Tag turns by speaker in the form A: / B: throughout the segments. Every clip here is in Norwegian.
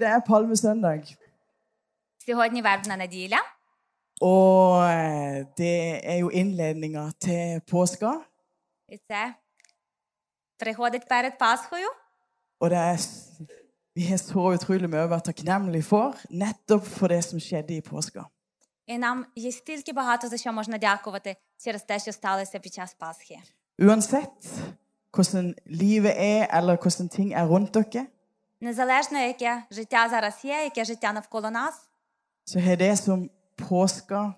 A: er palmesøndag.
B: Сьогодні вербна неділя,
A: Og eh, det er jo innledninga til påska.
B: і це приходить перед Пасхою.
A: Og det er, s- vi har så utrolig mye å være takknemlige for nettopp for det som skjedde i påska.
B: І нам є стільки багато за що можна дякувати через те, що сталося під час Пасхи.
A: Uansett hvordan livet er, eller hvordan ting er rundt dere,
B: Незалежно, яке життя зараз є, яке життя навколо нас,
A: så har det som påska,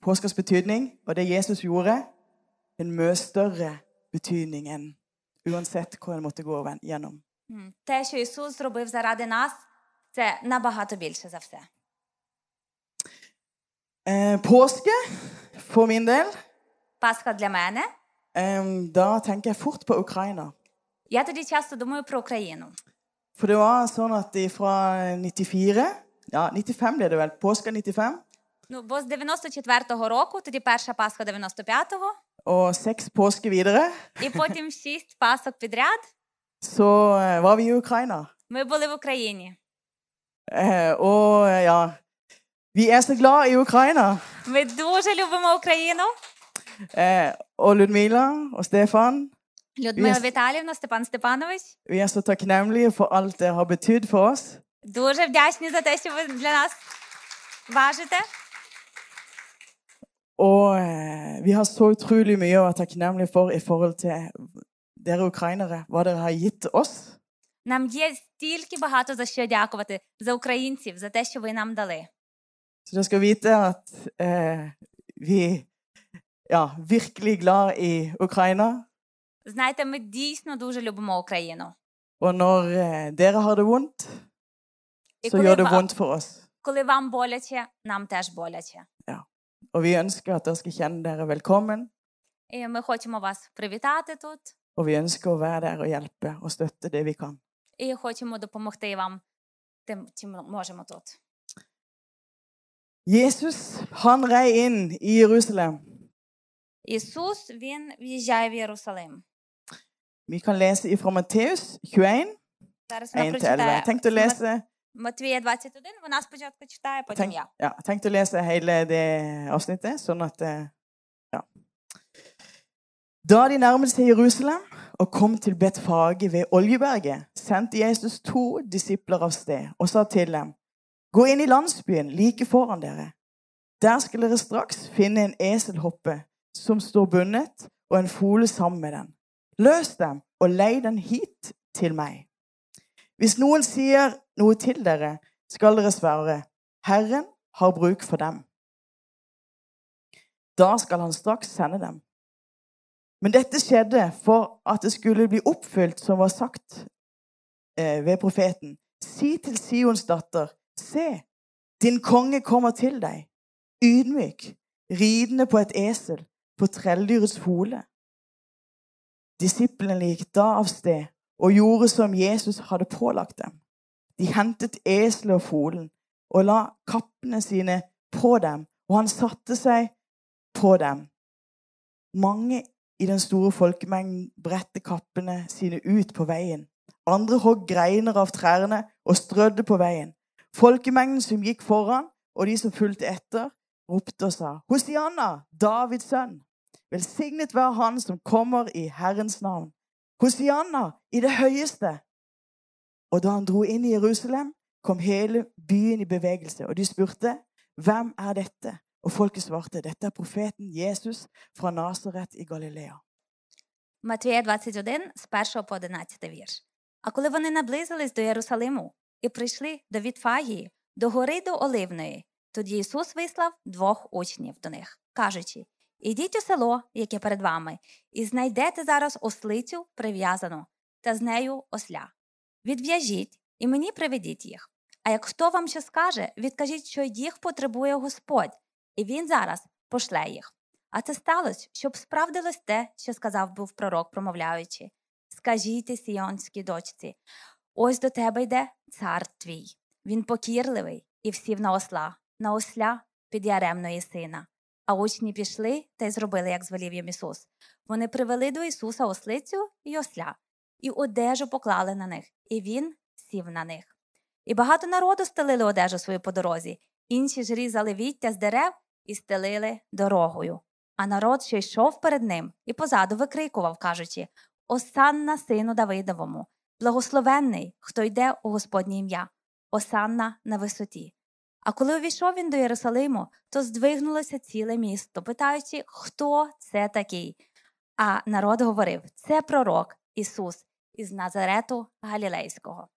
A: påskas betydning, og det Jesus gjorde, en mye større betydning enn uansett hva en måtte gå gjennom.
B: м, те, що Ісус зробив заради нас, це набагато більше за все.
A: Eh, påske, for min del,
B: Пасха для мене.
A: Ehm, da tenker jeg fort på Ukraina.
B: Я тоді часто думаю про Україну.
A: For det var sånn at fra 94 Ja, 95 ble det vel. Påska 95.
B: Ну, бо з 94-го року, тоді перша Пасха 95-го,
A: Og seks påsker videre
B: і потім шість пасок підряд.
A: så eh, var vi i Ukraina.
B: Ми були в Україні.
A: Eh, og eh, ja Vi er så glad i Ukraina.
B: Ми дуже любимо Україну.
A: Eh, og Ludmila og Stefan,
B: Людмила
A: Yes.
B: Віталівна, Степан Степанович.
A: vi er så takknemlige for alt det har betydd for oss.
B: Дуже вдячні за те, що ви для нас важите.
A: Og eh, vi har så utrolig mye å være takknemlige for i forhold til dere ukrainere, hva dere har gitt oss.
B: Нам є стільки багато за що дякувати за українців, за те, що ви нам дали.
A: Så dere skal vite at eh, vi ja, virkelig glad i Ukraina.
B: Знаєте, ми дійсно дуже любимо Україну.
A: Og når eh, dere har det vondt,
B: І
A: så
B: коли
A: gjør det
B: вам,
A: vondt for oss.
B: коли вам боляче, нам теж боляче.
A: Og vi ønsker at dere skal kjenne dere velkommen,
B: І ми хочемо вас привітати тут
A: og vi ønsker å være der og hjelpe og støtte det vi kan.
B: і хочемо допомогти вам тим, чим можемо тут.
A: Jesus han rei inn i Jerusalem.
B: Ісус він в'їжджає в Єрусалим.
A: Vi kan lese ifra Matteus 21,
B: Зараз вона
A: 1-11.
B: прочитає
A: Jeg tenkte å lese,
B: Матвія 21, Вона спочатку читає, потім
A: tenk,
B: я.
A: ja, jeg tenkte å lese hele det avsnittet, sånn at eh, Da de nærmet seg Jerusalem og kom til Betfage ved Oljeberget, sendte Jesus to disipler av sted og sa til dem, Gå inn i landsbyen like foran dere. Der skal dere straks finne en eselhoppe som står bundet, og en fole sammen med den. Løs dem og lei den hit til meg. Hvis noen sier noe til dere, skal dere svare, Herren har bruk for dem. Da skal han straks sende dem. Men dette skjedde for at det skulle bli oppfylt som var sagt eh, ved profeten. Si til Sions datter, se, din konge kommer til deg, ydmyk, ridende på et esel, på trelldyrets hole. Disiplene gikk da av sted og gjorde som Jesus hadde pålagt dem. De hentet eselet og folen og la kappene sine på dem, og han satte seg på dem. Mange i den store folkemengden bredte kappene sine ut på veien. Andre hogg greiner av trærne og strødde på veien. Folkemengden som gikk foran, og de som fulgte etter, ropte og sa, Hosianna, Davids sønn! Velsignet være han som kommer i Herrens navn. Hosianna i det høyeste! Og da han dro inn i Jerusalem, kom hele byen i bevegelse, og de spurte, hvem er dette? Og folket svarte, dette er profeten Jesus fra Nasaret i Galilea.
B: Матвія 21, з 1 по 11 вірш. А коли вони наблизились до Єрусалиму і прийшли до Вітфагії, до гори до Оливної, тоді Ісус вислав двох учнів до них, кажучи: Ідіть у село, яке перед вами, і знайдете зараз ослицю прив'язану та з нею осля. Відв'яжіть і мені приведіть їх. А як хто вам що скаже, відкажіть, що їх потребує Господь, і він зараз пошле їх. А це сталося, щоб справдилось те, що сказав був пророк, промовляючи: Скажіть сіонській дочці, ось до тебе йде цар твій. Він покірливий і всів на осла, на осля під яремної сина. А учні пішли та й зробили, як звелів їм Ісус. Вони привели до Ісуса ослицю і осля, і одежу поклали на них, і Він сів на них. І багато народу стелили одежу свою по дорозі. Інші ж різали віття з дерев і стелили дорогою. А народ, що йшов перед ним, і позаду викрикував, кажучи: Осанна сину Давидовому, благословенний, хто йде у Господнє ім'я, Осанна на висоті. А коли увійшов він до Єрусалиму, то здвигнулося ціле місто, питаючи, хто це такий. А народ говорив: це пророк Ісус із Назарету Галілейського.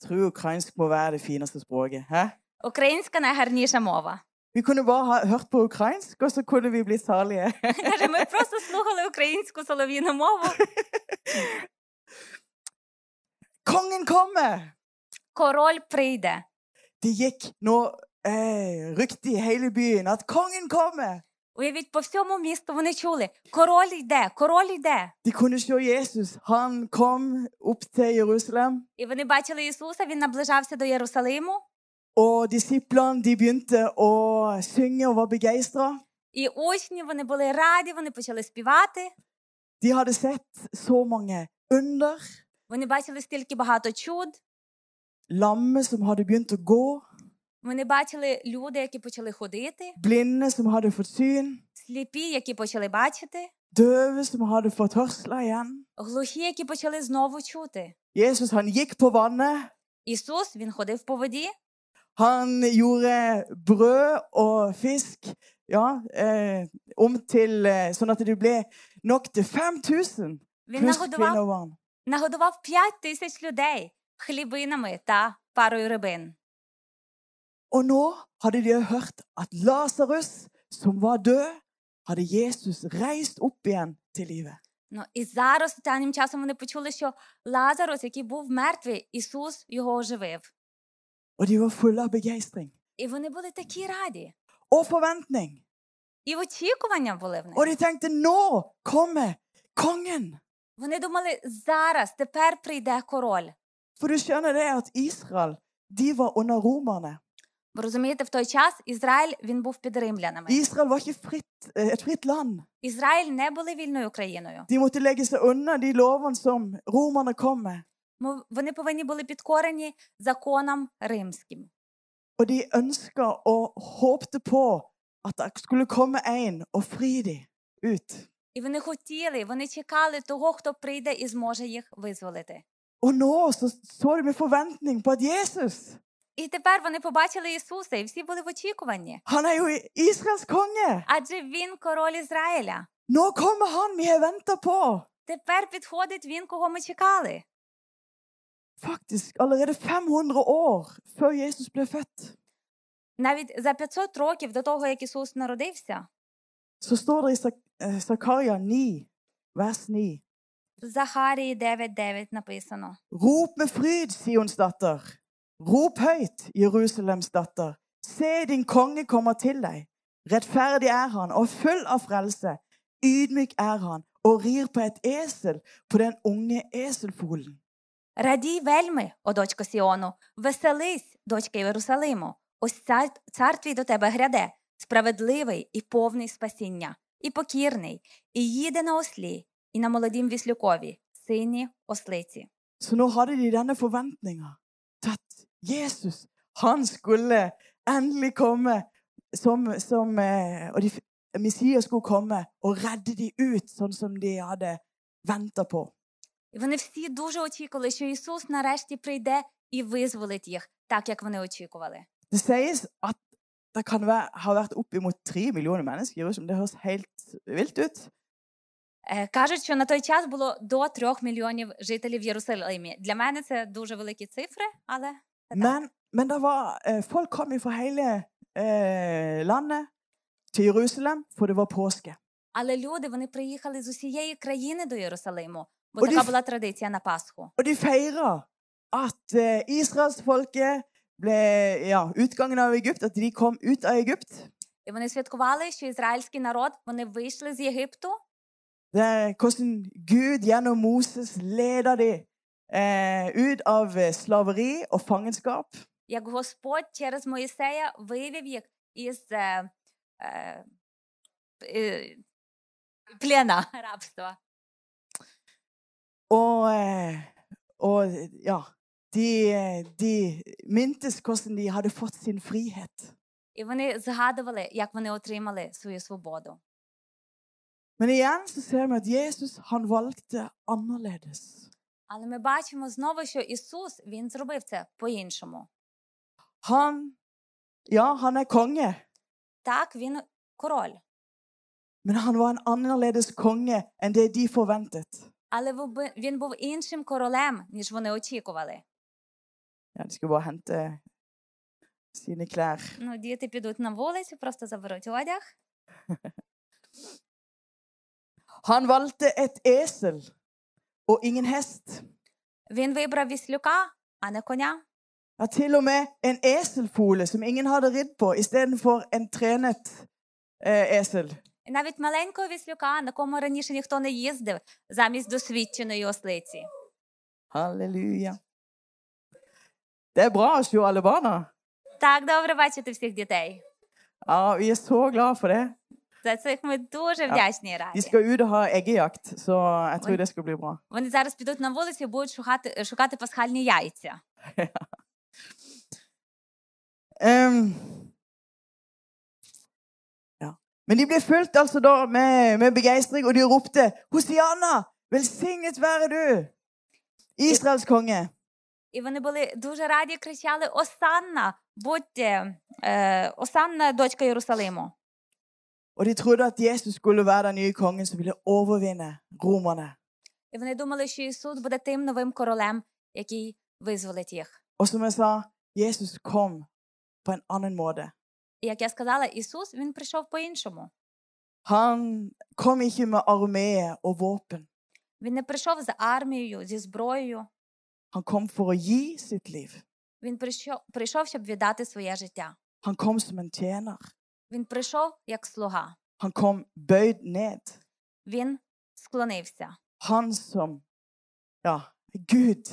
A: Jeg tror ukrainsk må være det fineste språket. Hæ?
B: Українська найгарніша мова.
A: Vi kunne bare ha hørt på ukrainsk, og så kunne vi blitt salige.
B: Каже, ми просто слухали українську солов'їну мову.
A: Kongen kommer!
B: Король прийде.
A: Det gikk nå eh, rykte i hele byen at kongen kommer!
B: Уявіть, по всьому місту вони чули: король йде, король йде.
A: De kunne se Jesus. Han kom opp til Jerusalem,
B: І вони бачили Ісуса, він наближався до Єрусалиму,
A: og disiplene de begynte å synge og var begeistra.
B: і учні вони були раді, вони почали співати.
A: De hadde sett så mange under.
B: Вони бачили стільки багато чуд.
A: Lamme som hadde begynt å gå,
B: Вони бачили люди, які почали ходити,
A: blinde som hadde fått syn,
B: сліпі, які почали бачити,
A: døve som hadde fått hørsla igjen.
B: глухі, які почали знову чути.
A: Jesus han gikk på vannet.
B: Ісус він ходив по воді,
A: Han gjorde brød og fisk ja, eh, om til eh, Sånn at det ble nok til 5000
B: він
A: pluss
B: нагодував
A: kvinner og barn.
B: нагодував п'ять тисяч людей хлібинами та парою рибин.
A: Og nå hadde de hørt at Lasarus, som var død, hadde Jesus reist opp igjen til livet.
B: Ну і зараз останнім часом вони почули, що Лазарус, який був мертвий, Ісус його оживив.
A: Og de var fulle av begeistring
B: І вони були такі раді.
A: og forventning.
B: І очікування були в
A: Og
B: них.
A: de tenkte 'Nå kommer kongen'.
B: Вони думали, зараз тепер прийде король.
A: For du skjønner det at Israel de var under romerne.
B: Бо розумієте, в той час Ізраїль він був під римлянами.
A: Israel var ikke fritt, eh, et fritt land.
B: Ізраїль не були вільною країною.
A: De måtte legge seg unna de lovene som romerne kom med.
B: Мов- Вони повинні були підкорені законам римським.
A: Og de ønska og håpte på at det skulle komme en og fri dem ut.
B: І вони хотіли, вони чекали того, хто прийде і зможе їх визволити.
A: Og nå så, så de med forventning på at Jesus
B: І тепер вони побачили Ісуса, і всі були в очікуванні.
A: han er jo Israels konge!
B: Адже він король Ізраїля.
A: Nå kommer han vi har venta på!
B: Тепер підходить він, кого ми чекали.
A: Faktisk allerede 500 år før Jesus ble født,
B: Навіть за 500 років до того, як Ісус народився,
A: så står det i Sak- eh, Zakaria 9, vers 9.
B: в Захарії 9.9 написано:
A: Rop med fryd, Sions datter. Rop høyt, Jerusalems datter. Se, din konge kommer til deg. Rettferdig er han og full av frelse. Ydmyk er han og rir på et esel, på den unge eselfolen.
B: Радій вельми, о дочко Сіону, веселись, дочка Єрусалиму. Ось цар, цар твій до тебе гряде, справедливий і повний спасіння, і покірний, і їде на ослі, і на молодім віслюкові, сині ослиці.
A: Så nå hadde de denne forventninga til at Jesus, han skulle endelig komme som, som eh, Og de, Messias skulle komme og redde de ut, sånn som de hadde venta på.
B: І вони всі дуже очікували, що Ісус нарешті прийде і визволить їх, так як вони очікували.
A: Det sies at det kan være, har vært oppimot tre millioner mennesker i Jerusalem. Det høres helt vilt ut.
B: Е, Кажуть, що на той час було до трьох мільйонів жителів в Єрусалимі. Для мене це дуже великі цифри, але це так.
A: Men, men det var, eh, folk kom fra hele eh, landet til Jerusalem, for det var påske.
B: але люди вони приїхали з усієї країни до Єрусалиму, бо
A: Одіс-
B: така була традиція на Пасху.
A: Og de feira at eh, israelsfolket ble ja, Utgangen av Egypt, at de kom ut av Egypt.
B: І вони святкували, що ізраїльський народ вони вийшли з Єгипту,
A: Det er hvordan Gud gjennom Moses leder de eh, ut av eh, slaveri og fangenskap.
B: як Господь через Моїсея вивів їх із е, е, е, плена рабства.
A: Og, eh, og ja, De, de mintes hvordan de hadde fått sin frihet.
B: І вони згадували, як вони отримали свою свободу.
A: Men igjen så ser vi at Jesus han valgte annerledes.
B: Але ми бачимо знову, що Ісус Він зробив це по-іншому.
A: Han Ja, han er konge,
B: Так, він король,
A: men han var en annerledes konge enn det de forventet.
B: але ви б- він був іншим королем, ніж вони очікували.
A: Ja, De skulle bare hente sine klær.
B: Ну, діти підуть на вулицю, просто заберуть одяг.
A: Han valgte et esel og ingen hest.
B: Він вибрав віслюка, а не коня.
A: Ja, til og med en eselfole som ingen hadde ridd på, istedenfor en trenet eh, esel.
B: І навіть маленького віслюка, на кому раніше ніхто не їздив, замість досвідченої ослиці.
A: Halleluja. Det er bra å se alle barna.
B: Так добре бачити всіх дітей.
A: Ja, Vi er så glad for det.
B: За цих ми дуже вдячні і
A: De
B: раді.
A: skal ut og ha eggejakt, så jeg tror det skal bli bra.
B: Вони зараз підуть на вулицю і будуть шукати, шукати пасхальні яйця.
A: Ehm, ja. Men de ble fulgt altså da med, med begeistring, og de ropte Hosianna, velsignet være du, Israels konge.
B: І вони були дуже раді, кричали: Осанна, будьте, е, Осанна, дочка Єрусалиму.
A: Og de trodde at Jesus skulle være den nye kongen som ville overvinne romerne,
B: І вони думали, що Ісус буде тим новим королем, який визволить їх.
A: Og som jeg sa, Jesus kom på en annen måte.
B: І як я сказала, Ісус він прийшов по-іншому.
A: Han kom ikke med armé og våpen.
B: Він не прийшов з армією, зі зброєю.
A: Han kom for å gi sitt liv.
B: Він прийшов, прийшов, щоб віддати своє життя.
A: Han kom som en tjener.
B: Він прийшов як слуга.
A: Han kom bøyd ned.
B: Він склонився.
A: Han som ja, er Gud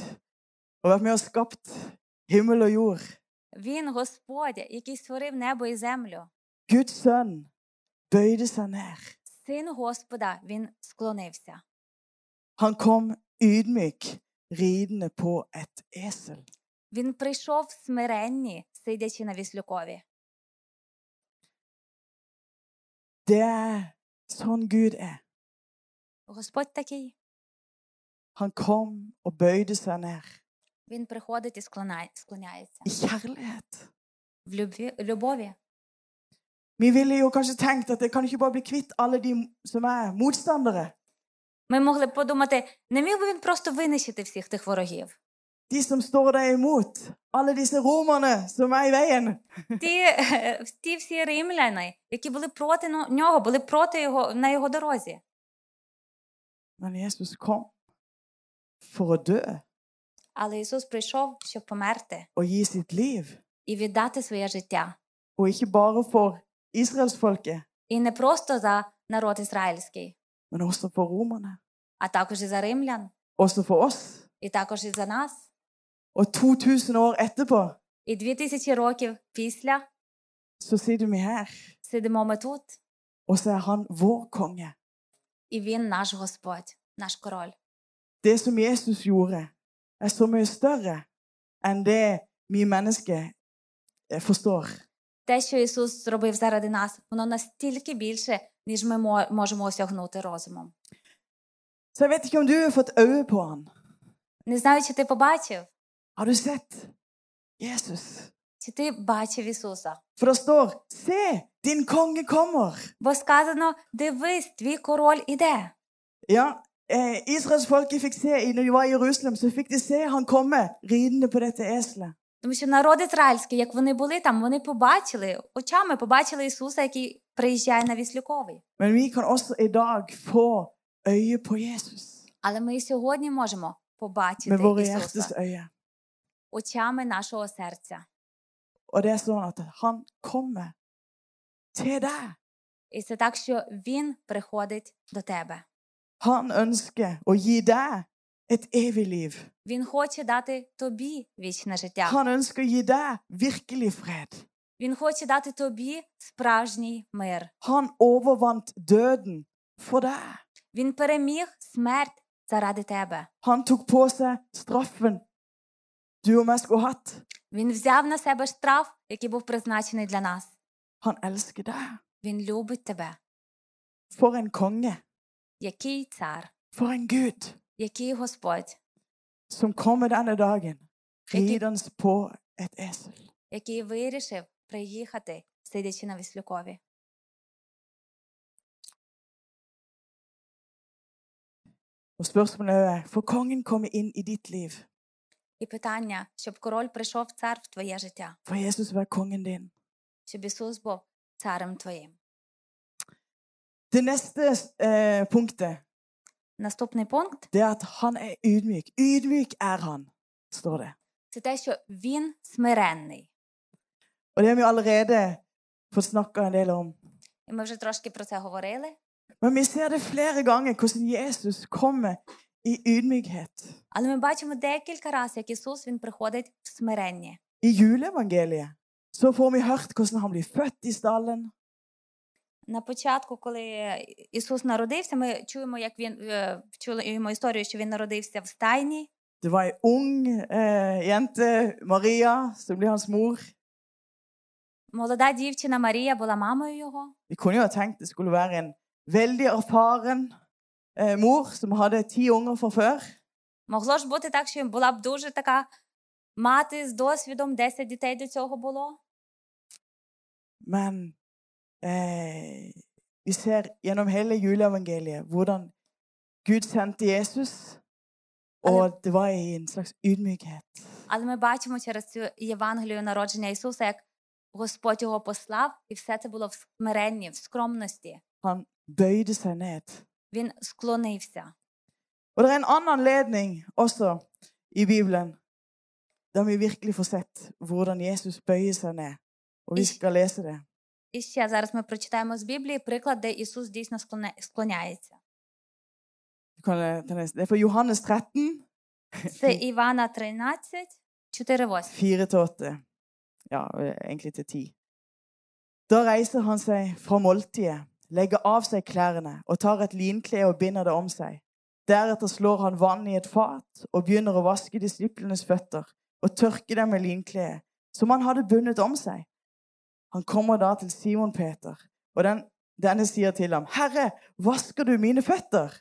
A: og vært med og skapt himmel og jord.
B: Він Господь, який створив небо і землю.
A: Guds sønn bøyde seg ned.
B: Син Господа він склонився.
A: Han kom ydmyk, ridende på et esel.
B: Він прийшов в смиренні, сидячи на віслюкові.
A: Det er sånn Gud er.
B: Господь такий.
A: Han kom og bøyde seg ned
B: Він приходить і склона- склоняється
A: i kjærlighet.
B: в любві, любові.
A: Vi ville jo kanskje tenkt at jeg kan ikke bare bli kvitt alle de som er motstandere.
B: Ми могли б подумати, не міг би він просто винищити всіх тих ворогів.
A: De som står deg imot. Alle disse romerne som er i veien.
B: Ті, е, ті всі римляни, які були проти но- нього, були проти його на його дорозі.
A: Men Jesus kom for å dø
B: Але Ісус прийшов, щоб померти
A: og gi sitt liv.
B: і віддати своє життя.
A: Og ikke bare for israelsfolket,
B: І не просто за народ ізраїльський,
A: men også for romerne.
B: а також і за римлян,
A: Også for oss.
B: і також і за нас.
A: Og 2000 år etterpå
B: І дві тисячі років після
A: så sitter vi her,
B: сидимо ми тут,
A: og så er han vår konge.
B: і він наш Господь, наш король.
A: Det som Jesus gjorde, er så mye større enn det vi mennesker eh, forstår.
B: Те, що Ісус зробив заради нас, воно настільки більше, ніж ми мо- можемо осягнути розумом.
A: Så jeg vet ikke om du har fått øye på han.
B: Не знаю, чи ти побачив,
A: Har du sett Jesus?
B: чи ти бачив Ісуса.
A: For det står 'Se, din konge kommer'.
B: Бо сказано: дивись, твій король іде.
A: Ja, eh, Israelsfolket fikk se i- når de var i Jerusalem, så fikk de se han komme ridende på dette eselet.
B: Тому що народ ізраїльський, як вони були там, вони побачили очами, побачили Ісуса, який приїжджає на Віслюковий.
A: Men vi kan også i dag få øye på Jesus
B: Але ми і сьогодні можемо побачити
A: med våre hjertes
B: Ісуса
A: øye.
B: очами нашого серця.
A: Og det er sånn at han kommer til deg.
B: І це так, що Він приходить до тебе.
A: Han ønsker å gi deg et evig liv.
B: Він хоче дати тобі вічне життя.
A: Han ønsker å gi deg virkelig fred.
B: Він хоче дати тобі справжній мир.
A: Han overvant døden for deg.
B: Він переміг смерть заради тебе.
A: Han tok på seg straffen du og meg skulle hatt.
B: Він взяв на себе штраф, який був призначений для нас.
A: Han elsker deg.
B: Він любить тебе.
A: For en konge.
B: Який цар,
A: For en Gud
B: який Господь,
A: som kommer denne dagen
B: Ikke-
A: ridende på et esel.
B: який вирішив приїхати, сидячи на віслюкові.
A: Og spørsmålet er får kongen komme inn i ditt liv.
B: І питання, щоб король прийшов цар в твоє життя,
A: Får Jesus være kongen din?
B: щоб Ісус був царем твоїм.
A: Det neste eh, punktet
B: Наступний пункт
A: det er at han er ydmyk. Ydmyk er han, står det.
B: це те, що він смиренний.
A: Og det har vi allerede fått snakka en del om.
B: І ми вже трошки про це говорили,
A: Men vi ser det flere ganger hvordan Jesus kommer i ydmykhet.
B: але ми бачимо декілька разів, як Ісус він приходить в смиренні.
A: I juleevangeliet så får vi hørt hvordan han blir født i stallen.
B: На початку, коли Ісус народився, ми чуємо, як він е, чуємо історію, що він народився в стайні.
A: Det var ei ung eh, jente, Maria, som blir hans mor.
B: Молода дівчина Марія була мамою його.
A: Vi kunne jo ha tenkt det skulle være en veldig erfaren eh, mor som hadde ti unger fra før.
B: Могло ж бути так, що була б дуже така мати з досвідом, 10 дітей до цього було.
A: Men eh, vi ser gjennom hele juleevangeliet hvordan Gud sendte Jesus, og det var i en slags ydmykhet.
B: Але ми бачимо через цю Євангелію народження Ісуса, як Господь його послав, і все це було в смиренні, в скромності.
A: Han bøyde seg ned.
B: Він склонився.
A: Og det er en annen anledning også i Bibelen der vi virkelig får sett hvordan Jesus bøyer seg ned. Og vi
B: Ikke-
A: skal lese det.
B: І ще зараз ми прочитаємо з Біблії приклад, де Ісус дійсно склоня- сklaняється.
A: Du kan, eh, ta neste. Det er fra Johannes 13,
B: Це Івана 13, 4, 8.
A: 4-8. Ja, eh, egentlig til 10. Da reiser han seg fra måltidet, legger av seg klærne og tar et linkle og binder det om seg. Deretter slår han vann i et fat og begynner å vaske disiplenes føtter og tørke dem med linkleet, som han hadde bundet om seg. Han kommer da til Simon Peter, og den, denne sier til ham, Herre, vasker du mine føtter?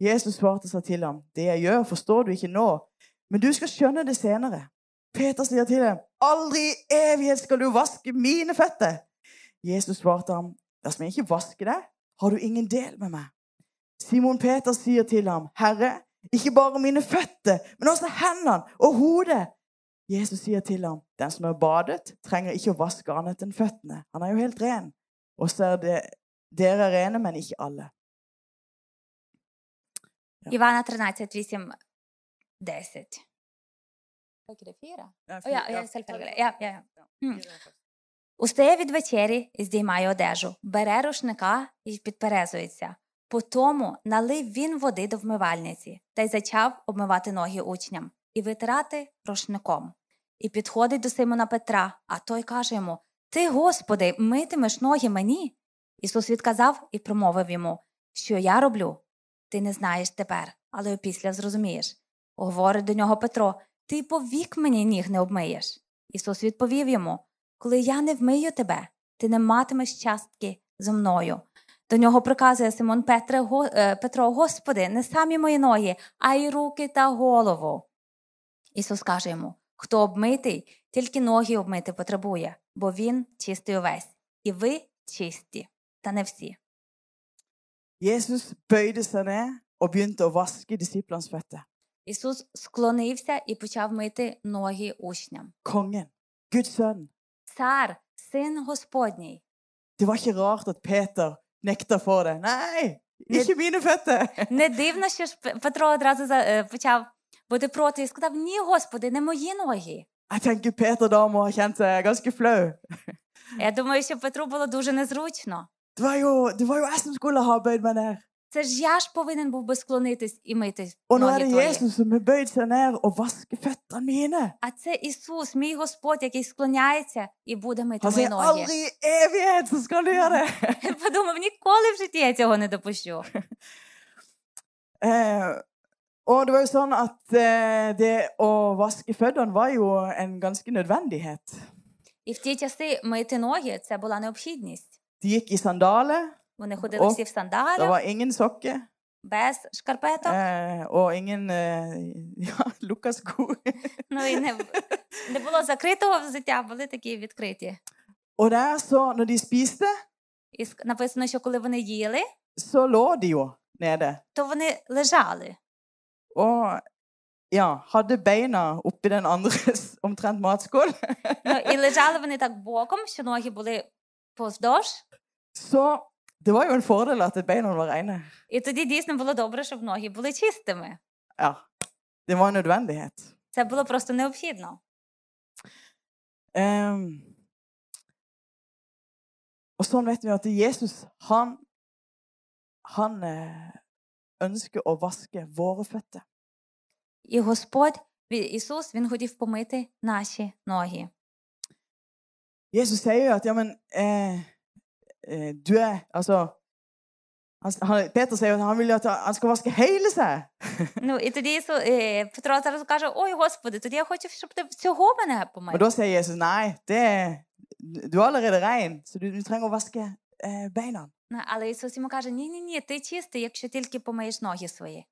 A: Jesus svarte seg til ham, Det jeg gjør, forstår du ikke nå, men du skal skjønne det senere. Peter sier til dem, Aldri i evighet skal du vaske mine føtter. Jesus svarte ham, Dersom jeg ikke vasker deg, har du ingen del med meg. Simon Peter sier til ham, Herre, ikke bare mine føtter, men også hendene og hodet. Jesus sier til ham, den som er badet, trenger ikke å vaske annet enn føttene. Han er jo helt ren. Og så er det dere er rene, men ikke alle. Ja.
B: Івана 13, 8, 10. О, я- я сальфетка. Я- я- я. М. Устає від вечері, здіймає одежу, бере рушника і підперезується. Потому налив він води до вмивальниці та й зачав обмивати ноги учням і витирати рушником. І підходить до Симона Петра, а той каже йому: Ти, Господи, митимеш ноги мені? Ісус відказав і промовив йому: Що я роблю? Ти не знаєш тепер, але опісля зрозумієш. Говорить до нього Петро: Ти повік мені ніг не обмиєш. Ісус відповів йому: Коли я не вмию тебе, ти не матимеш частки зо мною. До нього приказує Симон Петре, «Го- е, Петро: Господи, не самі мої ноги, а й руки та голову. Ісус каже йому: Хто обмитий, тільки ноги обмити потребує, бо він чистий увесь, і ви чисті, та не всі.
A: Jesus bøyde seg ned og begynte å vaske disiplenes føtter.
B: Ісус склонився і почав мити ноги учням.
A: Kongen, Guds sønn.
B: Цар, син Господній.
A: Det var ikke rart at Peter nekta for det. Nei, ikke mine føtter!
B: Не дивно, що ж Пе- Петро одразу за- е, почав бути проти і сказав: Ні, Господи, не мої ноги.
A: Jeg tenker Peter da må ha kjent seg ganske flau.
B: Я думаю, що Петру було дуже незручно.
A: Det var jo, det var jo jeg som skulle ha bøyd meg ned.
B: Це ж я ж повинен був би склонитись і мити
A: Og nå
B: ноги
A: er det
B: твої.
A: Jesus som har bøyd seg ned og vasket føttene mine.
B: А це Ісус, мій Господь, який склоняється і буде мити
A: Han
B: мої
A: sier
B: ноги.
A: aldri i evighet så skal du gjøre det!
B: Я подумав, ніколи в житті я цього не допущу.
A: Eh, Og det var jo sånn at eh, det å vaske føttene var jo en ganske nødvendighet.
B: І в ті часи мити ноги це була необхідність.
A: De gikk i sandaler.
B: Вони ходили
A: О,
B: всі в
A: Det
B: сандалях,
A: var ingen sokker.
B: без шкарпеток,
A: Eh, og ingen eh, ja, lukka sko.
B: ну і не, не було закритого взуття, були такі відкриті.
A: Og der så, når de spiste,
B: І ск- написано, що коли вони їли,
A: så lå de jo nede.
B: то вони лежали.
A: Og ja, hadde beina oppi den andres omtrent matskål.
B: Ну, і лежали вони так боком, що ноги були повздовж.
A: Så det var jo en fordel at beina var rene.
B: І тоді дійсно було добре, щоб ноги були чистими.
A: Ja, det var en nødvendighet.
B: Це було просто необхідно.
A: Ehm, og sånn vet vi at Jesus, han, han eh, ønsker å vaske våre føtter.
B: І Господь, Ві- Ісус, Він хотів помити наші ноги.
A: Jesus sier jo at ja, men eh, eh, du er Altså han, han, Peter sier jo at han vil jo at han skal vaske hele seg.
B: Ну і тоді Ісу, е, Петро зараз каже: Ой, Господи, тоді я хочу, щоб ти всього мене
A: Og
B: помив.
A: da sier Jesus nei, det, du er allerede rein, så du, du trenger å vaske eh, beina.
B: Ну, Але Ісус йому каже: Ні, ні, ні, ти чистий, якщо тільки помиєш ноги свої.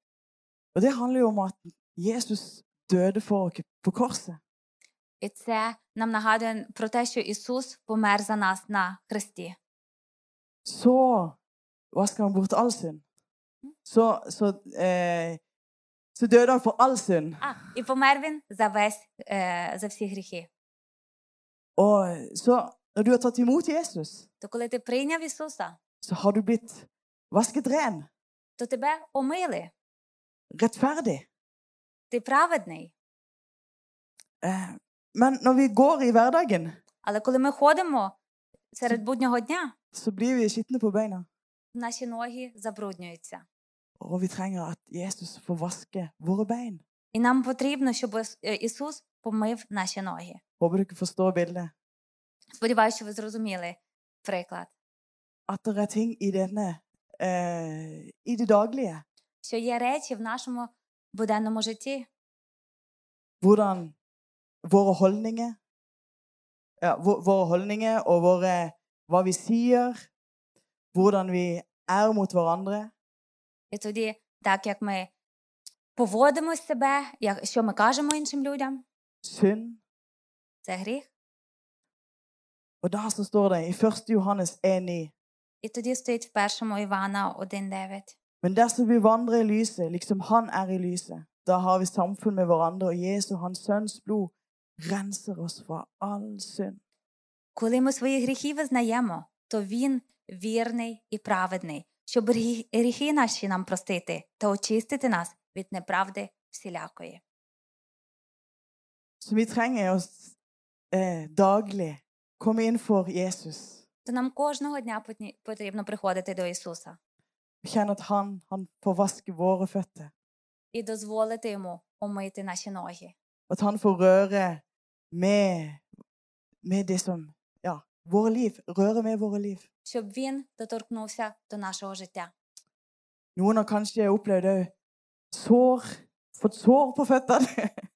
A: Og det handler jo om at Jesus døde for oss på korset.
B: І це нам нагадує про те, що Ісус помер за нас на хресті.
A: så vasker han bort all synd. Så, så, eh, så døde han for all synd.
B: А, і помер він за весь е, за всі гріхи.
A: Og så når du har tatt imot Jesus,
B: То коли ти прийняв Ісуса,
A: så har du blitt vasket ren,
B: то тебе омили,
A: rettferdig.
B: ти праведний.
A: Eh, men når vi går i hverdagen,
B: Але коли ми ходимо серед буднього дня,
A: så blir vi skitne på beina.
B: наші ноги забруднюються.
A: Og vi trenger at Jesus får vaske våre bein.
B: І нам потрібно, щоб Іс- е, Ісус помив наші ноги.
A: Håper dere forstår bildet.
B: Сподіваюся, що ви зрозуміли приклад,
A: At det er ting i denne eh, i det daglige.
B: що є речі в нашому буденному житті,
A: hvordan våre holdninger ja, vå- Våre holdninger og våre, hva vi sier, hvordan vi er mot hverandre.
B: І тоді, так як ми поводимо себе, як, що ми кажемо іншим людям,
A: Synd.
B: це гріх.
A: Og da så står det i 1. Johannes 1,9
B: І тоді стоїть в першому Івана 1.9.
A: Men dersom vi vandrer i lyset, liksom Han er i lyset, da har vi samfunn med hverandre, og Jesu, Hans Sønns blod, renser oss fra all synd.
B: Коли ми свої гріхи визнаємо, то Він вірний і праведний, щоб грі- гріхи наші нам простити та очистити нас від неправди всілякої.
A: Så vi trenger oss eh, daglig komme inn for Jesus.
B: То нам кожного дня потні- потрібно приходити до Ісуса
A: Kjenne at han, han får vaske våre føtter.
B: і дозволити Йому омити наші ноги,
A: At han får røre med, med det som Ja, våre liv. Røre med våre liv.
B: щоб Він доторкнувся до нашого жиttя.
A: Noen har kanskje opplevd òg sår. Fått sår på føttene.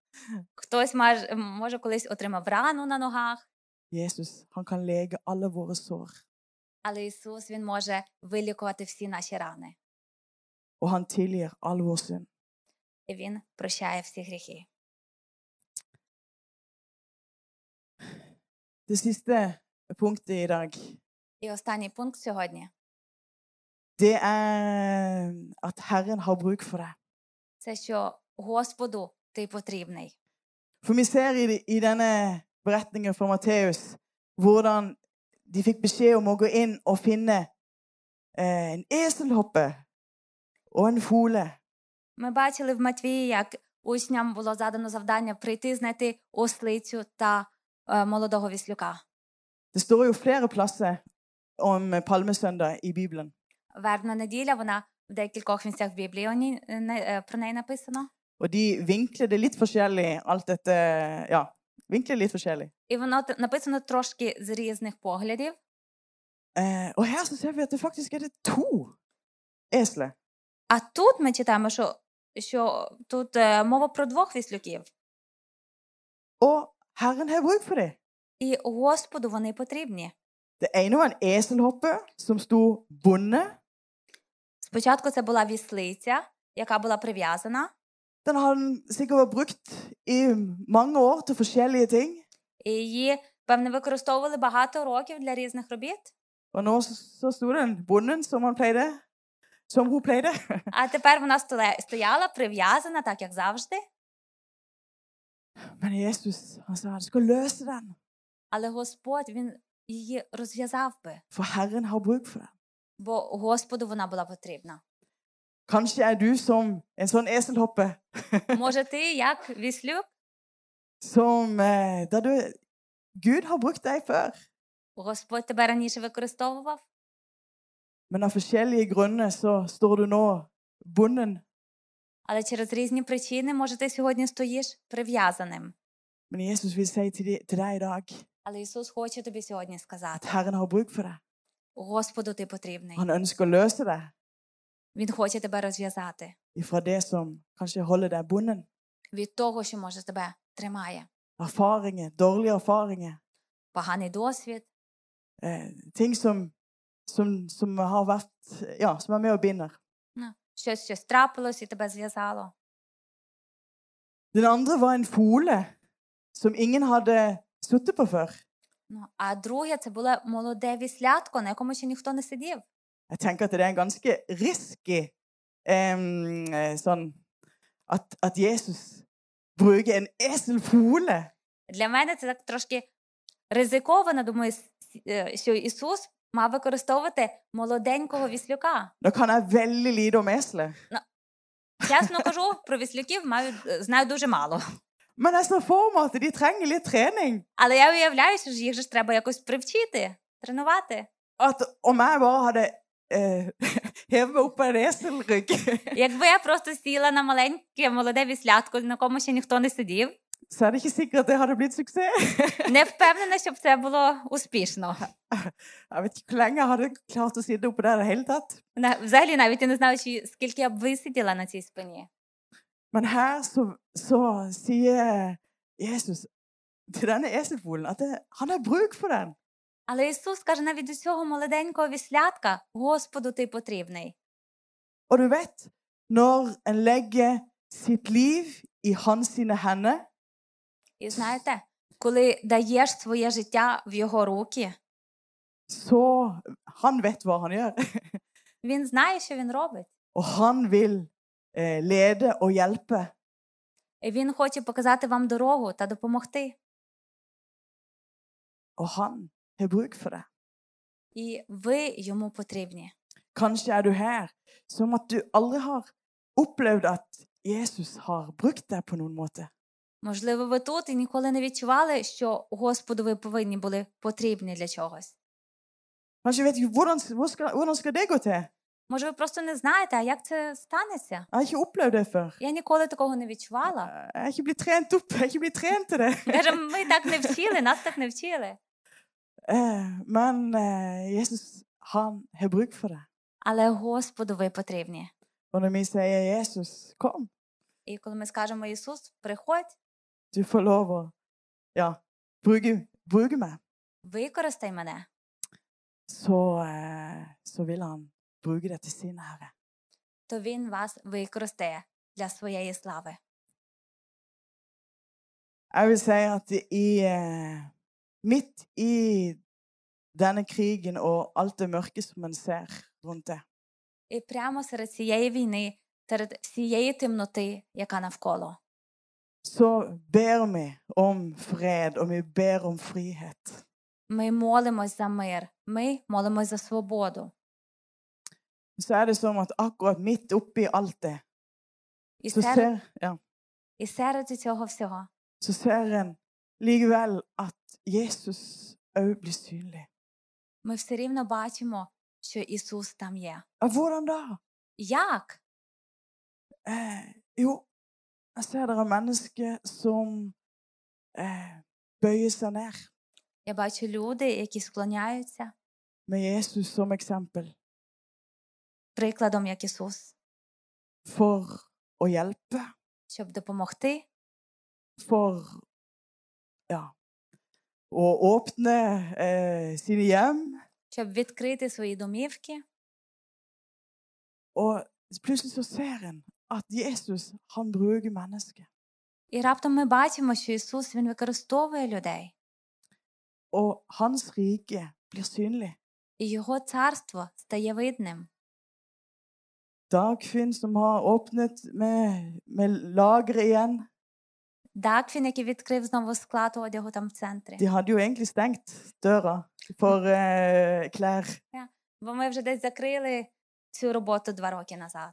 B: Хтось маж- може колись отримав рану на ногах,
A: Jesus, han kan lege alle våre sår.
B: але Ісус Він може вилікувати всі наші рани,
A: Og han tilgir all vår synd.
B: і Він прощає всі гріхи.
A: Det siste punktet i dag,
B: І останній пункт сьогодні
A: det er at Herren har bruk for deg.
B: це що Господу ти потрібний.
A: For vi ser i, i denne beretningen fra Matteus hvordan de fikk beskjed om å gå inn og finne eh, en eselhoppe og en fole.
B: Ми бачили в Матвії, як учням було задано завдання прийти знайти ослицю та е, молодого віслюка.
A: Det står jo flere plasser om palmesøndag i Bibelen.
B: Вербна неділя, вона в декількох місцях в Біблії оні- не- е, про неї написано.
A: Og de vinkler det litt forskjellig, alt dette Ja, vinkler litt forskjellig.
B: І воно т- написано трошки з різних поглядів.
A: Eh, og her så ser vi at det faktisk er det to esler.
B: А тут ми читаємо, що що тут е, мова про двох віслюків,
A: Og Herren har bruk for dem.
B: і Господу вони потрібні.
A: Det ene var en eselhoppe som sto bonde.
B: Спочатку це була віслиця, яка була прив'язана,
A: Den har han sikkert vært brukt i mange år til forskjellige ting.
B: і її, певне, використовували багато років для різних робіт.
A: Og nå så, så sto den bonden som han pleide. Som hun pleide.
B: А тепер вона столе- стояла прив'язана, так як завжди.
A: Men Jesus han sa han skal løse den,
B: Але Господь він її розв'язав би,
A: for Herren har bruk for den.
B: бо Господу вона була потрібна.
A: Kanskje er du som en sånn eselhoppe
B: Може, ти як віслюк?
A: som eh, der du, Gud har brukt deg før,
B: Господь тебе раніше використовував,
A: men av forskjellige grunner så står du nå bonden.
B: але через різні причини, може, ти сьогодні стоїш прив'язаним.
A: Men Jesus vil si til, de, til deg i dag
B: Але Ісус хоче тобі сьогодні сказати:
A: at Herren har bruk for deg.
B: Господу ти потрібний.
A: Han ønsker å løse deg
B: Він хоче тебе розв'язати
A: ifra det som kanskje holder deg bonden.
B: від того, що може тебе тримає.
A: Erfaringer, dårlige erfaringer,
B: Поганий досвід,
A: eh, ting som, som, som har vært Ja, som er med og binder.
B: ну, щось щось трапилось і тебе зв'язало.
A: Den andre var en fole som ingen hadde sittet på før.
B: Ну, а друге, це було молоде віслятко, на якому ще ніхто не сидів.
A: Jeg tenker at det er en ganske risky em, eh, sånn at, at Jesus bruker en eselfole.
B: Для мене це так трошки ризиковано. Думаю, с- е, що Ісус мав використовувати молоденького віслюка.
A: Nå kan jeg veldig lite om eselet,
B: Чесно кажу, про віслюків маю, е, знаю дуже мало.
A: men jeg ser for meg at de trenger litt trening.
B: Але я уявляю, що ж їх же ж треба якось привчити, тренувати.
A: At om jeg bare hadde eh, hevet meg opp på en eselrygg,
B: Якби я просто сіла на маленьке молоде віслятко, на кому ще ніхто не сидів,
A: så er det ikke sikkert at det hadde blitt suksess.
B: не впевнена, щоб це було успішно.
A: Jeg vet ikke hvor lenge jeg hadde klart å sitte oppå der i det hele tatt.
B: На- Взагалі навіть я не знаю, чи скільки я б висиділа на цій спині.
A: Men her så, så sier Jesus til denne eselfolen at det, han har bruk for den.
B: Але Ісус каже, навіть до цього молоденького віслятка Господу ти потрібний.
A: Og du vet, når en legger sitt liv i hans sine hender,
B: І знаєте, коли даєш своє життя в його руки,
A: så Han vet hva han gjør.
B: він знає, що він робить.
A: Og han vil eh, lede og hjelpe.
B: І він хоче показати вам дорогу та допомогти.
A: Og han har bruk for det.
B: І ви йому потрібні.
A: Kanskje er du her som at du aldri har opplevd at Jesus har brukt deg på noen måte.
B: Можливо, ви тут і ніколи не відчували, що Господу ви повинні були потрібні для чогось.
A: Kanskje vet ikke hvordan, hvor skal, hvordan skal det gå til?
B: Може, ви просто не знаєте, а як це станеться?
A: Jeg har ikke opplevd det før. Eh,
B: Я ніколи такого не відчувала.
A: Jeg er ikke blitt trent opp. Jeg er ikke blitt trent til det.
B: Каже, ми так не вчили, нас так не вчили.
A: Eh, men eh, Jesus, han har bruk for det.
B: Але Господу ви потрібні.
A: Og når vi sier 'Jesus, kom',
B: І коли ми скажемо Ісус, приходь,
A: du får lov å ja, bruke, bruke meg,
B: використай мене,
A: så, eh, så vil han bruke det til sin ære.
B: то Він вас використає для своєї слави.
A: Jeg vil si at i, eh, midt i denne krigen og alt det mørke som en ser rundt det,
B: І прямо серед цієї війни, серед всієї темноти, яка навколо,
A: så ber vi om fred, og vi ber om frihet.
B: ми молимось за мир, ми молимось за свободу.
A: Så er det som at akkurat midt oppi alt det,
B: І
A: så
B: серед,
A: ser, ja,
B: і серед цього всього
A: så ser en likevel at Jesus òg blir synlig.
B: ми все рівно бачимо, що Ісус там є.
A: Ja, hvordan da?
B: Як?
A: Eh, jo, jeg ser det er mennesker som eh, bøyer seg ned
B: Я бачу люди, які склоняються
A: med Jesus som eksempel
B: прикладом як Ісус
A: for å hjelpe.
B: щоб допомогти,
A: for ja, å åpne eh, sine hjem.
B: щоб відкрити свої домівки.
A: Og plutselig så ser en at Jesus han bruker mennesker.
B: І раптом ми бачимо, що Ісус Він використовує людей,
A: Og hans rike blir synlig.
B: і Його царство стає видним.
A: Dagfinn, som har åpnet med, med lageret igjen
B: Дакфін, який відкрив знову склад одягу там в центрі.
A: De hadde jo egentlig stengt døra for eh, klær.
B: Бо ми вже десь закрили цю роботу два роки назад.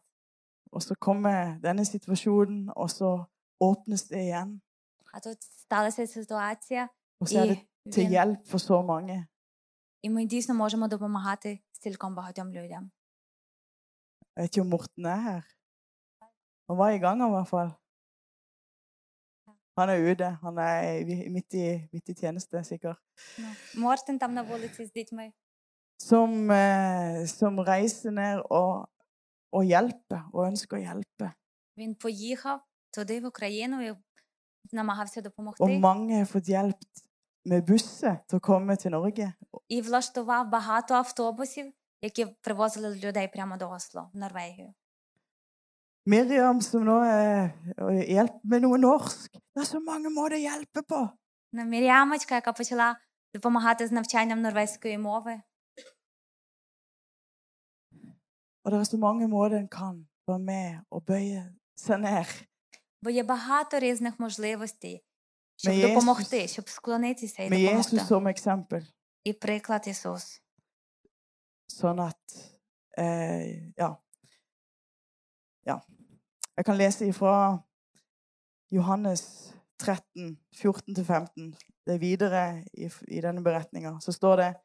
A: Og så kommer denne situasjonen, og så åpnes det igjen.
B: А тут сталася ситуація,
A: Og så er
B: і,
A: det til
B: він,
A: hjelp for så mange.
B: і ми дійсно можемо допомагати стільком багатьом людям.
A: Jeg vet ikke om Morten er her. Han var i gang, i hvert fall. Han er ute. Han er i- midt i, midt i tjeneste, sikkert.
B: Ну, Мортен там на вулиці з дітьми.
A: Som, eh, som reiser ned og, og hjelper, og ønsker å hjelpe.
B: Він поїхав туди, в Україну, і намагався
A: Og
B: допомогти.
A: mange har fått hjelp med busser til å komme til Norge.
B: І влаштував багато автобусів, які привозили людей прямо до Осло, в Норвегію.
A: Miriam, som nå er og hjelper med noe norsk. Det er så mange måter å hjelpe på!
B: Ну, Мір'ямочка, яка почала допомагати з навчанням норвезької мови.
A: Og det er så mange måter en kan være med og bøye seg ned.
B: Бо є багато різних можливостей, щоб
A: Ми
B: допомогти,
A: Єсус-
B: щоб склонитися і
A: Med
B: допомогти.
A: Jesus som eksempel.
B: І приклад Ісус.
A: Sånn at eh, ja. ja. Jeg kan lese ifra Johannes 13, 14-15. Det er videre i, i denne beretninga. Så står det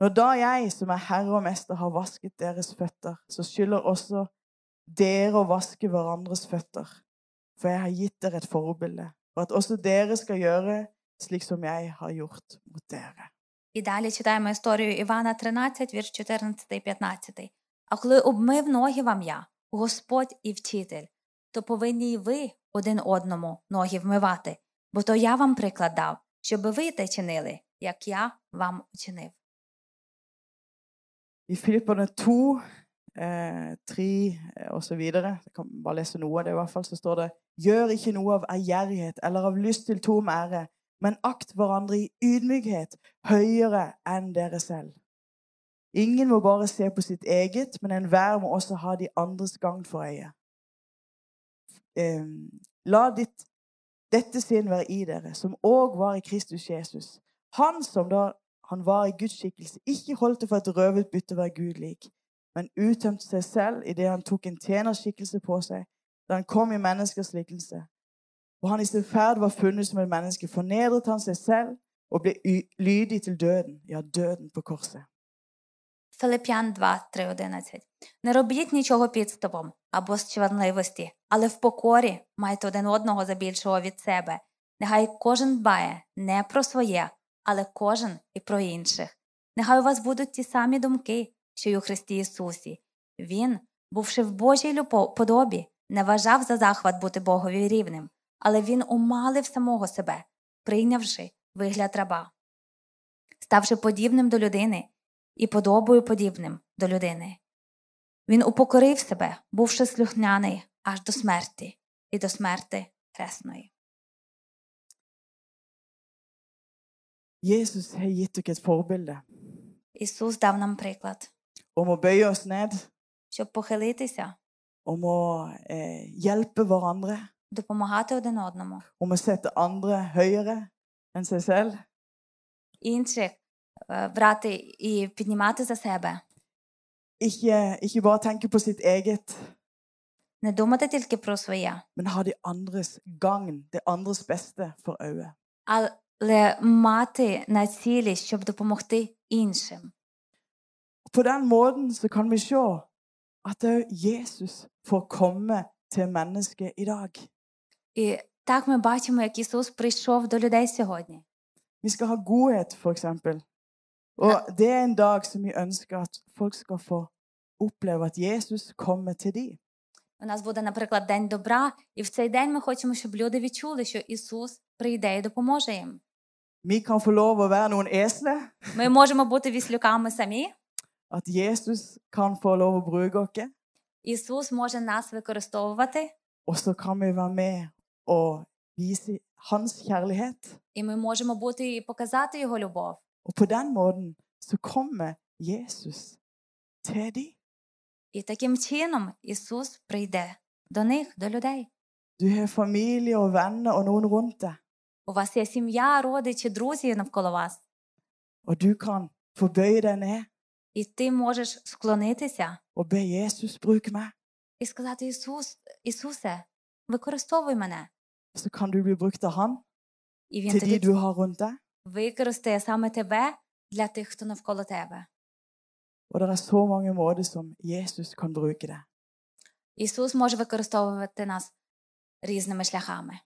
A: Når da jeg, som er herre og mester, har vasket deres føtter, så skylder også dere å vaske hverandres føtter. For jeg har gitt dere et forbilde, for at også dere skal gjøre slik som jeg har gjort mot dere.
B: І далі читаємо історію Івана 13, вірш 14 і 15. А коли обмив ноги вам я, Господь і вчитель, то повинні й ви один одному ноги вмивати, бо то я вам приклад дав, щоб ви те чинили, як я вам учинив.
A: I Filipperne 2, eh, 3 eh, og så videre, jeg kan bare lese noe av det i hvert fall, så står det Gjør ikke noe av ærgjerrighet eller av lyst til tom ære, men akt hverandre i ydmykhet høyere enn dere selv. Ingen må bare se på sitt eget, men enhver må også ha de andres gagn for øye. Eh, la ditt, dette sinn være i dere, som òg var i Kristus Jesus. Han som da han var i Guds skikkelse, ikke holdt det for et røvet bytte å være Gud lik, men uttømte seg selv idet han tok en tjenerskikkelse på seg, da han kom i menneskers likelse. Og han i sin ferd var funnet som et menneske, fornedret han seg selv og ble y- lydig til døden, ja, døden på korset.
B: Филип'ян 2, 3, 11. Не робіть нічого підступом або з чванливості, але в покорі майте один одного за більшого від себе. Нехай кожен дбає не про своє, але кожен і про інших. Нехай у вас будуть ті самі думки, що й у Христі Ісусі. Він, бувши в Божій любо- подобі, не вважав за захват бути Богові рівним, але він умалив самого себе, прийнявши вигляд раба, ставши подібним до людини і подобою подібним до людини. Він упокорив себе, бувши слухняний аж до смерті і до смерти хресної.
A: Jesus har gitt dere et forbilde
B: Ісус дав нам приклад,
A: om å bøye oss ned,
B: щоб похилитися,
A: om å eh, hjelpe hverandre,
B: допомагати один одному,
A: om å sette andre høyere enn seg selv.
B: інших е, брати і піднімати за себе,
A: Ikke, ikke bare tenke på sitt eget,
B: не думати тільки про своє,
A: men ha de andres gagn, det andres beste for øye.
B: але мати на цілі, щоб допомогти іншим.
A: På den måten så kan vi se at òg Jesus får komme til mennesket i dag.
B: І так ми бачимо, як Ісус прийшов до людей сьогодні.
A: Vi skal ha godhet, for eksempel. Og det er en dag som vi ønsker at folk skal få oppleve at Jesus kommer til dem.
B: У нас буде, наприклад, День добра, і в цей день ми хочемо, щоб люди відчули, що Ісус прийде і допоможе їм.
A: Vi kan få lov å være noen esler.
B: Ми можемо бути віслюками самі.
A: At Jesus kan få lov å bruke oss.
B: Ісус може нас використовувати,
A: Og så kan vi være med og vise hans kjærlighet.
B: і ми можемо бути і показати Його любов.
A: Og på den måten så kommer Jesus til dem.
B: І таким чином Ісус прийде до них, до людей.
A: Du har familie og venner og noen rundt deg,
B: У вас є сім'я, родичі, друзі навколо вас,
A: og du kan få bøye deg ned
B: і ти можеш склонитися
A: og be Jesus bruke meg.
B: і сказати: Ісус, Ісусе, використовуй мене.
A: Så kan du bli brukt av han
B: І він
A: til de
B: тоді
A: du har rundt deg.
B: використає саме тебе для тих, хто навколо тебе.
A: Og det er så mange måter som Jesus kan bruke deg.
B: Ісус може використовувати нас різними шляхами.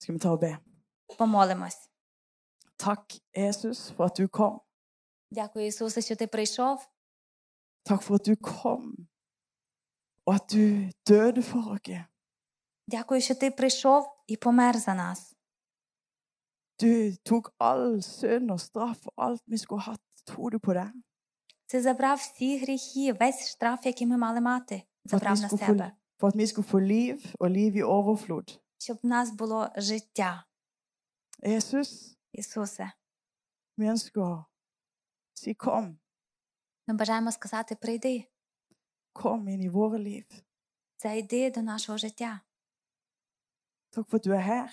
A: Skal vi ta og be?
B: Помолимось.
A: Takk, Jesus, for at du kom.
B: Дякую, Ісусе, що ти прийшов.
A: Takk for at du kom, og at du døde for oss.
B: Дякую, що ти прийшов і помер за нас.
A: Du tok all synd og straff og alt vi skulle hatt, tok du på deg.
B: Ти забрав всі гріхи, весь штраф, який ми мали мати,
A: For at,
B: забрав
A: vi
B: на
A: skulle få,
B: себе,
A: for at vi skulle få liv, og liv i overflod.
B: щоб в нас було життя,
A: Jesus,
B: Ісусе.
A: vi ønsker å si kom.
B: Ми бажаємо сказати: прийди,
A: Kom inn i våre liv.
B: зайди до нашого життя.
A: Takk for at du er her,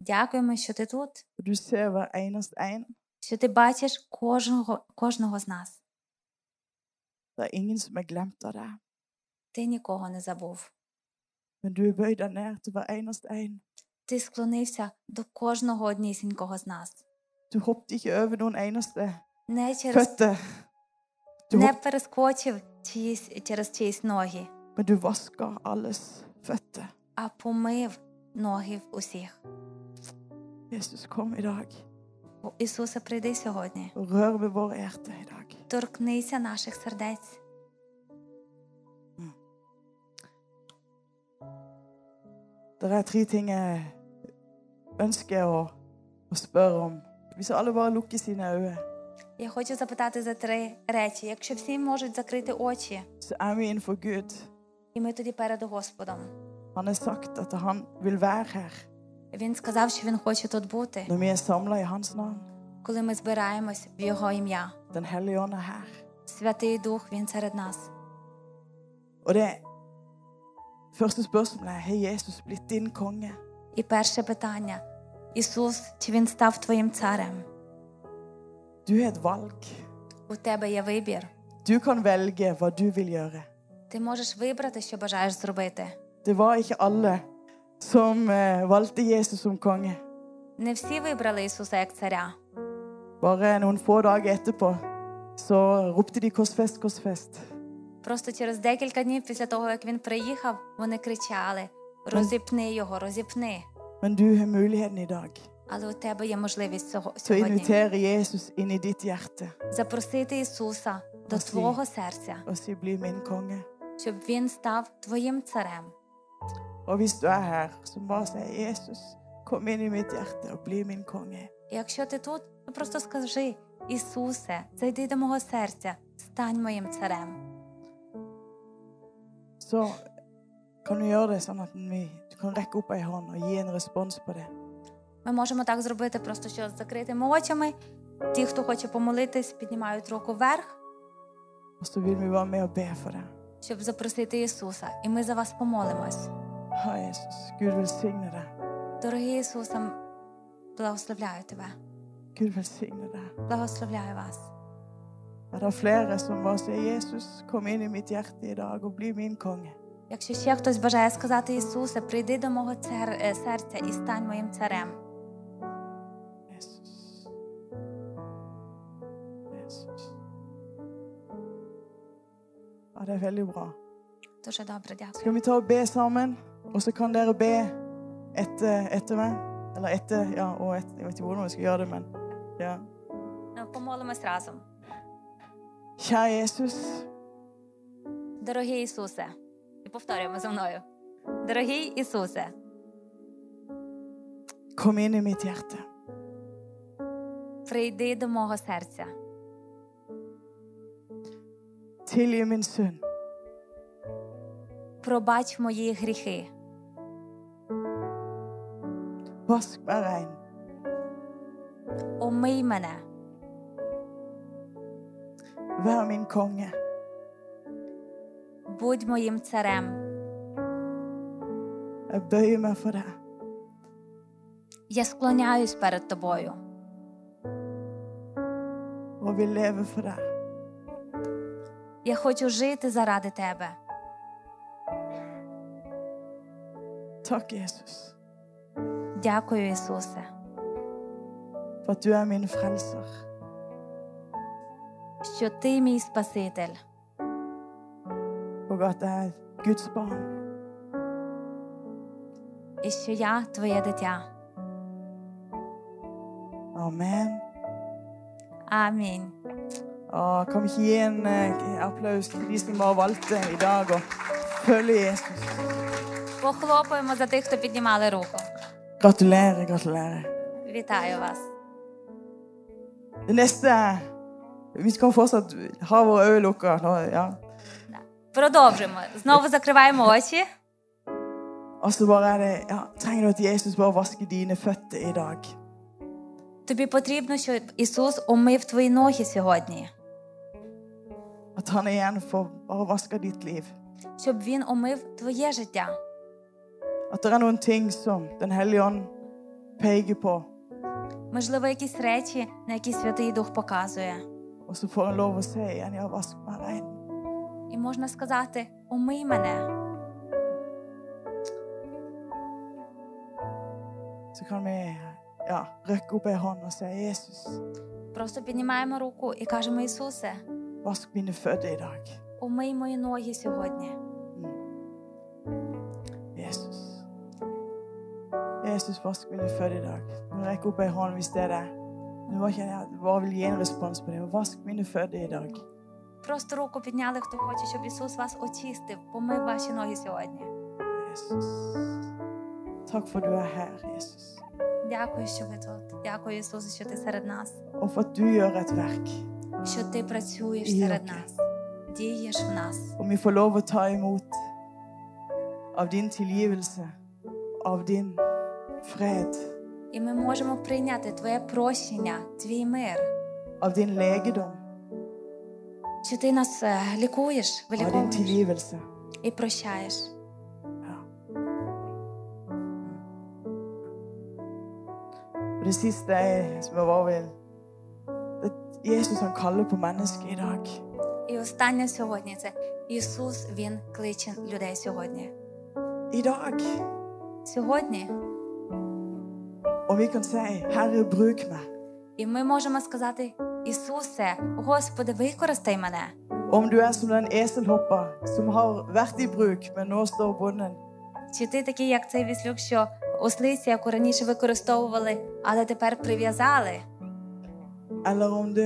B: Дякуємо, що ти тут,
A: og du ser hver eneste en.
B: що ти бачиш кожного, кожного з нас.
A: Det er ingen som er glemt av deg,
B: Ти нікого не забув.
A: men du er bøyd deg ned til hver eneste en.
B: Ти склонився до кожного однісінького з нас.
A: Du hoppet ikke over noen eneste
B: Не через
A: føtter, du
B: не
A: hoppet,
B: перескочив чиїсь, через чиїсь ноги,
A: men du vasker alles føtter.
B: а помив ноги усіх.
A: Jesus, kom i dag
B: О, Ісусе, прийди сьогодні.
A: og rør ved våre hjerter i dag.
B: Торкнися наших сердець.
A: Det er tre ting jeg ønsker å, å spørre om. Hvis alle bare lukker sine øyne,
B: Я хочу запитати за три речі. Якщо всі можуть закрити очі,
A: så er vi innenfor Gud.
B: і ми тоді перед Господом.
A: Han har sagt at han vil være her
B: Він сказав, що він хоче тут бути,
A: når vi er samla i hans navn.
B: коли ми збираємось в його ім'я.
A: Den hellige ånd er her.
B: Святий Дух, він серед нас.
A: Og det første spørsmålet er har Jesus blitt din konge.
B: І перше питання: Ісус, чи він став твоїм царем?
A: Du har et valg.
B: У тебе є вибір.
A: Du kan velge hva du vil gjøre.
B: Ти можеш вибрати, що бажаєш зробити.
A: Det var ikke alle som eh, valgte Jesus som konge.
B: Не всі вибрали Ісуса як царя.
A: Bare noen få dager etterpå så ropte de 'Korsfest, Korsfest'.
B: Просто через декілька днів після того, як він приїхав, вони кричали: Розіпни його, розіпни.
A: Men du har muligheten i dag
B: Але у тебе є можливість цього
A: til å
B: сьогодні
A: invitere Jesus inn i ditt hjerte
B: запросити Ісуса до
A: Спасибі.
B: твого серця,
A: og si 'bli min konge'.
B: щоб він став твоїм царем.
A: Og hvis du er her, så bare si 'Jesus, kom inn i mitt hjerte og bli min konge'.
B: І якщо ти тут, то просто скажи: Ісусе, зайди до мого серця, стань моїм царем.
A: Så kan du gjøre det sånn at vi, du kan rekke opp ei hånd og gi en respons på det.
B: Ми можемо так зробити, просто що з закритими очами. Ті, хто хоче помолитись, піднімають руку вверх,
A: Og så vil vi være med og be for det.
B: щоб запросити Ісуса, і ми за вас помолимось.
A: Ja, Jesus, Gud velsigne deg.
B: Дорогий Ісусе, м, благословляю тебе,
A: Gud velsigne deg.
B: благословляю вас.
A: Er det flere som bare sier 'Jesus, kom inn i mitt hjerte i dag og bli min konge'?
B: Якщо ще хтось бажає сказати Ісусе, прийди до мого цер... е, серця і стань моїм царем.
A: Jesus. Jesus. Ja, det er veldig bra.
B: Дуже добре, дякую.
A: Skal vi ta og be sammen? Og så kan dere be etter, etter meg. Eller etter, ja, og etter, jeg vet ikke hvordan vi skal gjøre det, men ja.
B: Ну, Помолимось разом.
A: Kjære Jesus,
B: Дорогий Ісусе, і повторюємо за мною. Дорогий Ісусе,
A: Kom inn i mitt hjerte.
B: прийди до мого серця,
A: Tilgi min synd.
B: пробач мої гріхи,
A: Vask meg rein.
B: омий мене,
A: Vær min konge.
B: будь моїм царем.
A: Jeg bøyer meg for deg.
B: Я склоняюсь перед тобою
A: Og vil leve for deg.
B: Я хочу жити заради тебе.
A: Takk, Jesus,
B: Дякую, Ісусе,
A: for at du er min frelser.
B: що ти мій Спаситель,
A: Og at jeg er Guds barn.
B: і що я твоє дитя.
A: Amen.
B: Амінь.
A: Og kan vi ikke gi en eh, applaus til de som bare valgte i dag å følge Jesus?
B: Похлопаємо за тих, хто піднімали руку.
A: Gratulerer, gratulerer.
B: Вітаю вас.
A: Det neste Vi kan fortsatt ha våre øyne lukka. Nå, ja.
B: Продовжимо. Знову закриваємо очі.
A: Og så bare er det ja, Trenger du at Jesus bare vasker dine føtter i dag?
B: Тобі потрібно, щоб Ісус омив твої ноги сьогодні,
A: At han igjen får bare vaske ditt liv?
B: щоб Він омив твоє життя.
A: At det er noen ting som Den hellige ånd peker på,
B: Можливо, якісь речі, на які Святий Дух показує.
A: og så får en lov å se igjen Ja, vask meg rein.
B: І можна сказати: Омий мене.
A: Så kan vi ja, røkke opp ei hånd og si Jesus,
B: Просто піднімаємо руку і кажемо: Ісусе,
A: vask mine føtter i dag. Mm.
B: омий мої ноги сьогодні.
A: Jesus. Jesus, vask mine føtter i dag. Nå rekker jeg opp ei hånd hvis det er det. Nå bare kjenner jeg at jeg bare vil gi en respons på det. Vask mine føtter i dag.
B: Просто руку підняли, хто хоче, щоб Ісус вас очистив, помив ваші ноги сьогодні.
A: Jesus. Takk for at du er her, Jesus.
B: Дякую, що ви тут. Дякую, Ісусе, що ти серед нас,
A: Og for at du gjør et verk.
B: що ти працюєш
A: Є,
B: серед
A: окей.
B: нас, дієш в нас.
A: Om vi får lov å ta imot av din tilgivelse, av din fred,
B: І ми можемо прийняти Твоє прощення, Твій мир,
A: av din legedom,
B: що ти нас е, лікуєш,
A: av din
B: виліковуєш
A: tilgivelse.
B: і прощаєш.
A: Ja. Og det siste er, som jeg bare vil det er Jesus han kaller på mennesket i dag.
B: І останнє сьогодні це Ісус, Він кличе людей сьогодні.
A: I dag.
B: Сьогодні,
A: Og vi kan si 'Herre, bruk meg'.
B: і ми можемо сказати: Ісусе, Господи, використай мене.
A: Om du er som den eselhoppa som har vært i bruk, men nå står bonden.
B: Чи ти такий, як цей віслюк, що ослиці, яку раніше використовували, але тепер прив'язали?
A: Eller om du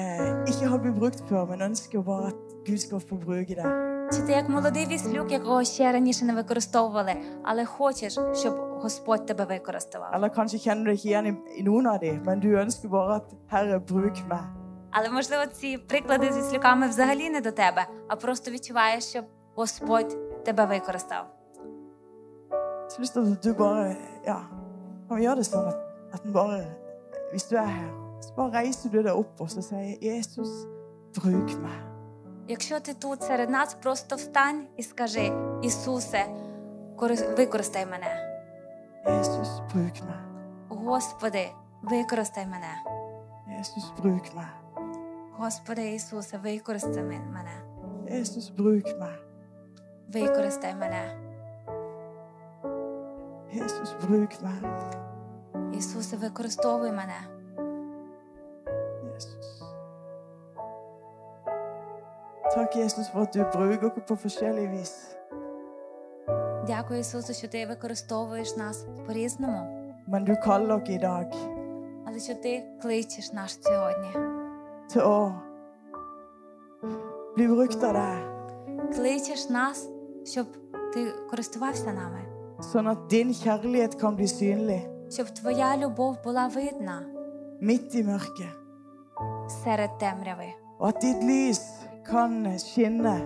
A: eh, ikke har blitt brukt før, men ønsker bare at Gud skal få bruke deg.
B: Чи ти як молодий віслюк, якого ще раніше не використовували, але хочеш, щоб Господь тебе використав?
A: Eller kanskje kjenner du deg ikke igjen i, i noen av dem, men du ønsker bare at 'Herre, bruk meg'.
B: Але можливо ці приклади з віслюками взагалі не до тебе, а просто відчуваєш, щоб Господь тебе використав.
A: Så har jeg lyst til sånn at du bare ja, kan vi gjøre det sånn at, at den bare Hvis du er her, så bare reiser du deg opp og så sier 'Jesus, bruk meg'.
B: Якщо ти тут серед нас, просто встань і скажи: Ісусе, корис- використай мене.
A: Jesus, bruk meg.
B: Господи, використай мене.
A: Jesus, bruk meg.
B: Господи Ісусе, використай мен- мене.
A: Jesus, bruk meg.
B: Використай мене.
A: Jesus, bruk meg.
B: Ісусе, використовуй мене.
A: Jesus. Takk, Jesus, for at du bruker oss på forskjellig vis.
B: Дякую, Ісусе, що ти використовуєш нас по-різному,
A: Men du kaller oss i dag
B: але що ти кличеш нас сьогодні,
A: til å bli brukt av deg,
B: кличеш нас, щоб ти користувався нами,
A: sånn at din kjærlighet kan bli synlig
B: щоб твоя любов була видна
A: midt i mørket,
B: серед темряви,
A: og at ditt lys kan skinne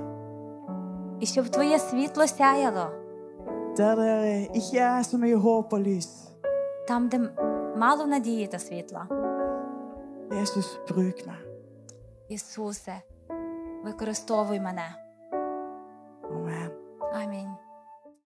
B: і щоб твоє світло сяяло
A: der det ikke er så mye håp og lys.
B: там, де мало надії та світла.
A: Jesus, bruk meg.
B: Ісусе, використовуй мене.
A: Amen.
B: Амінь.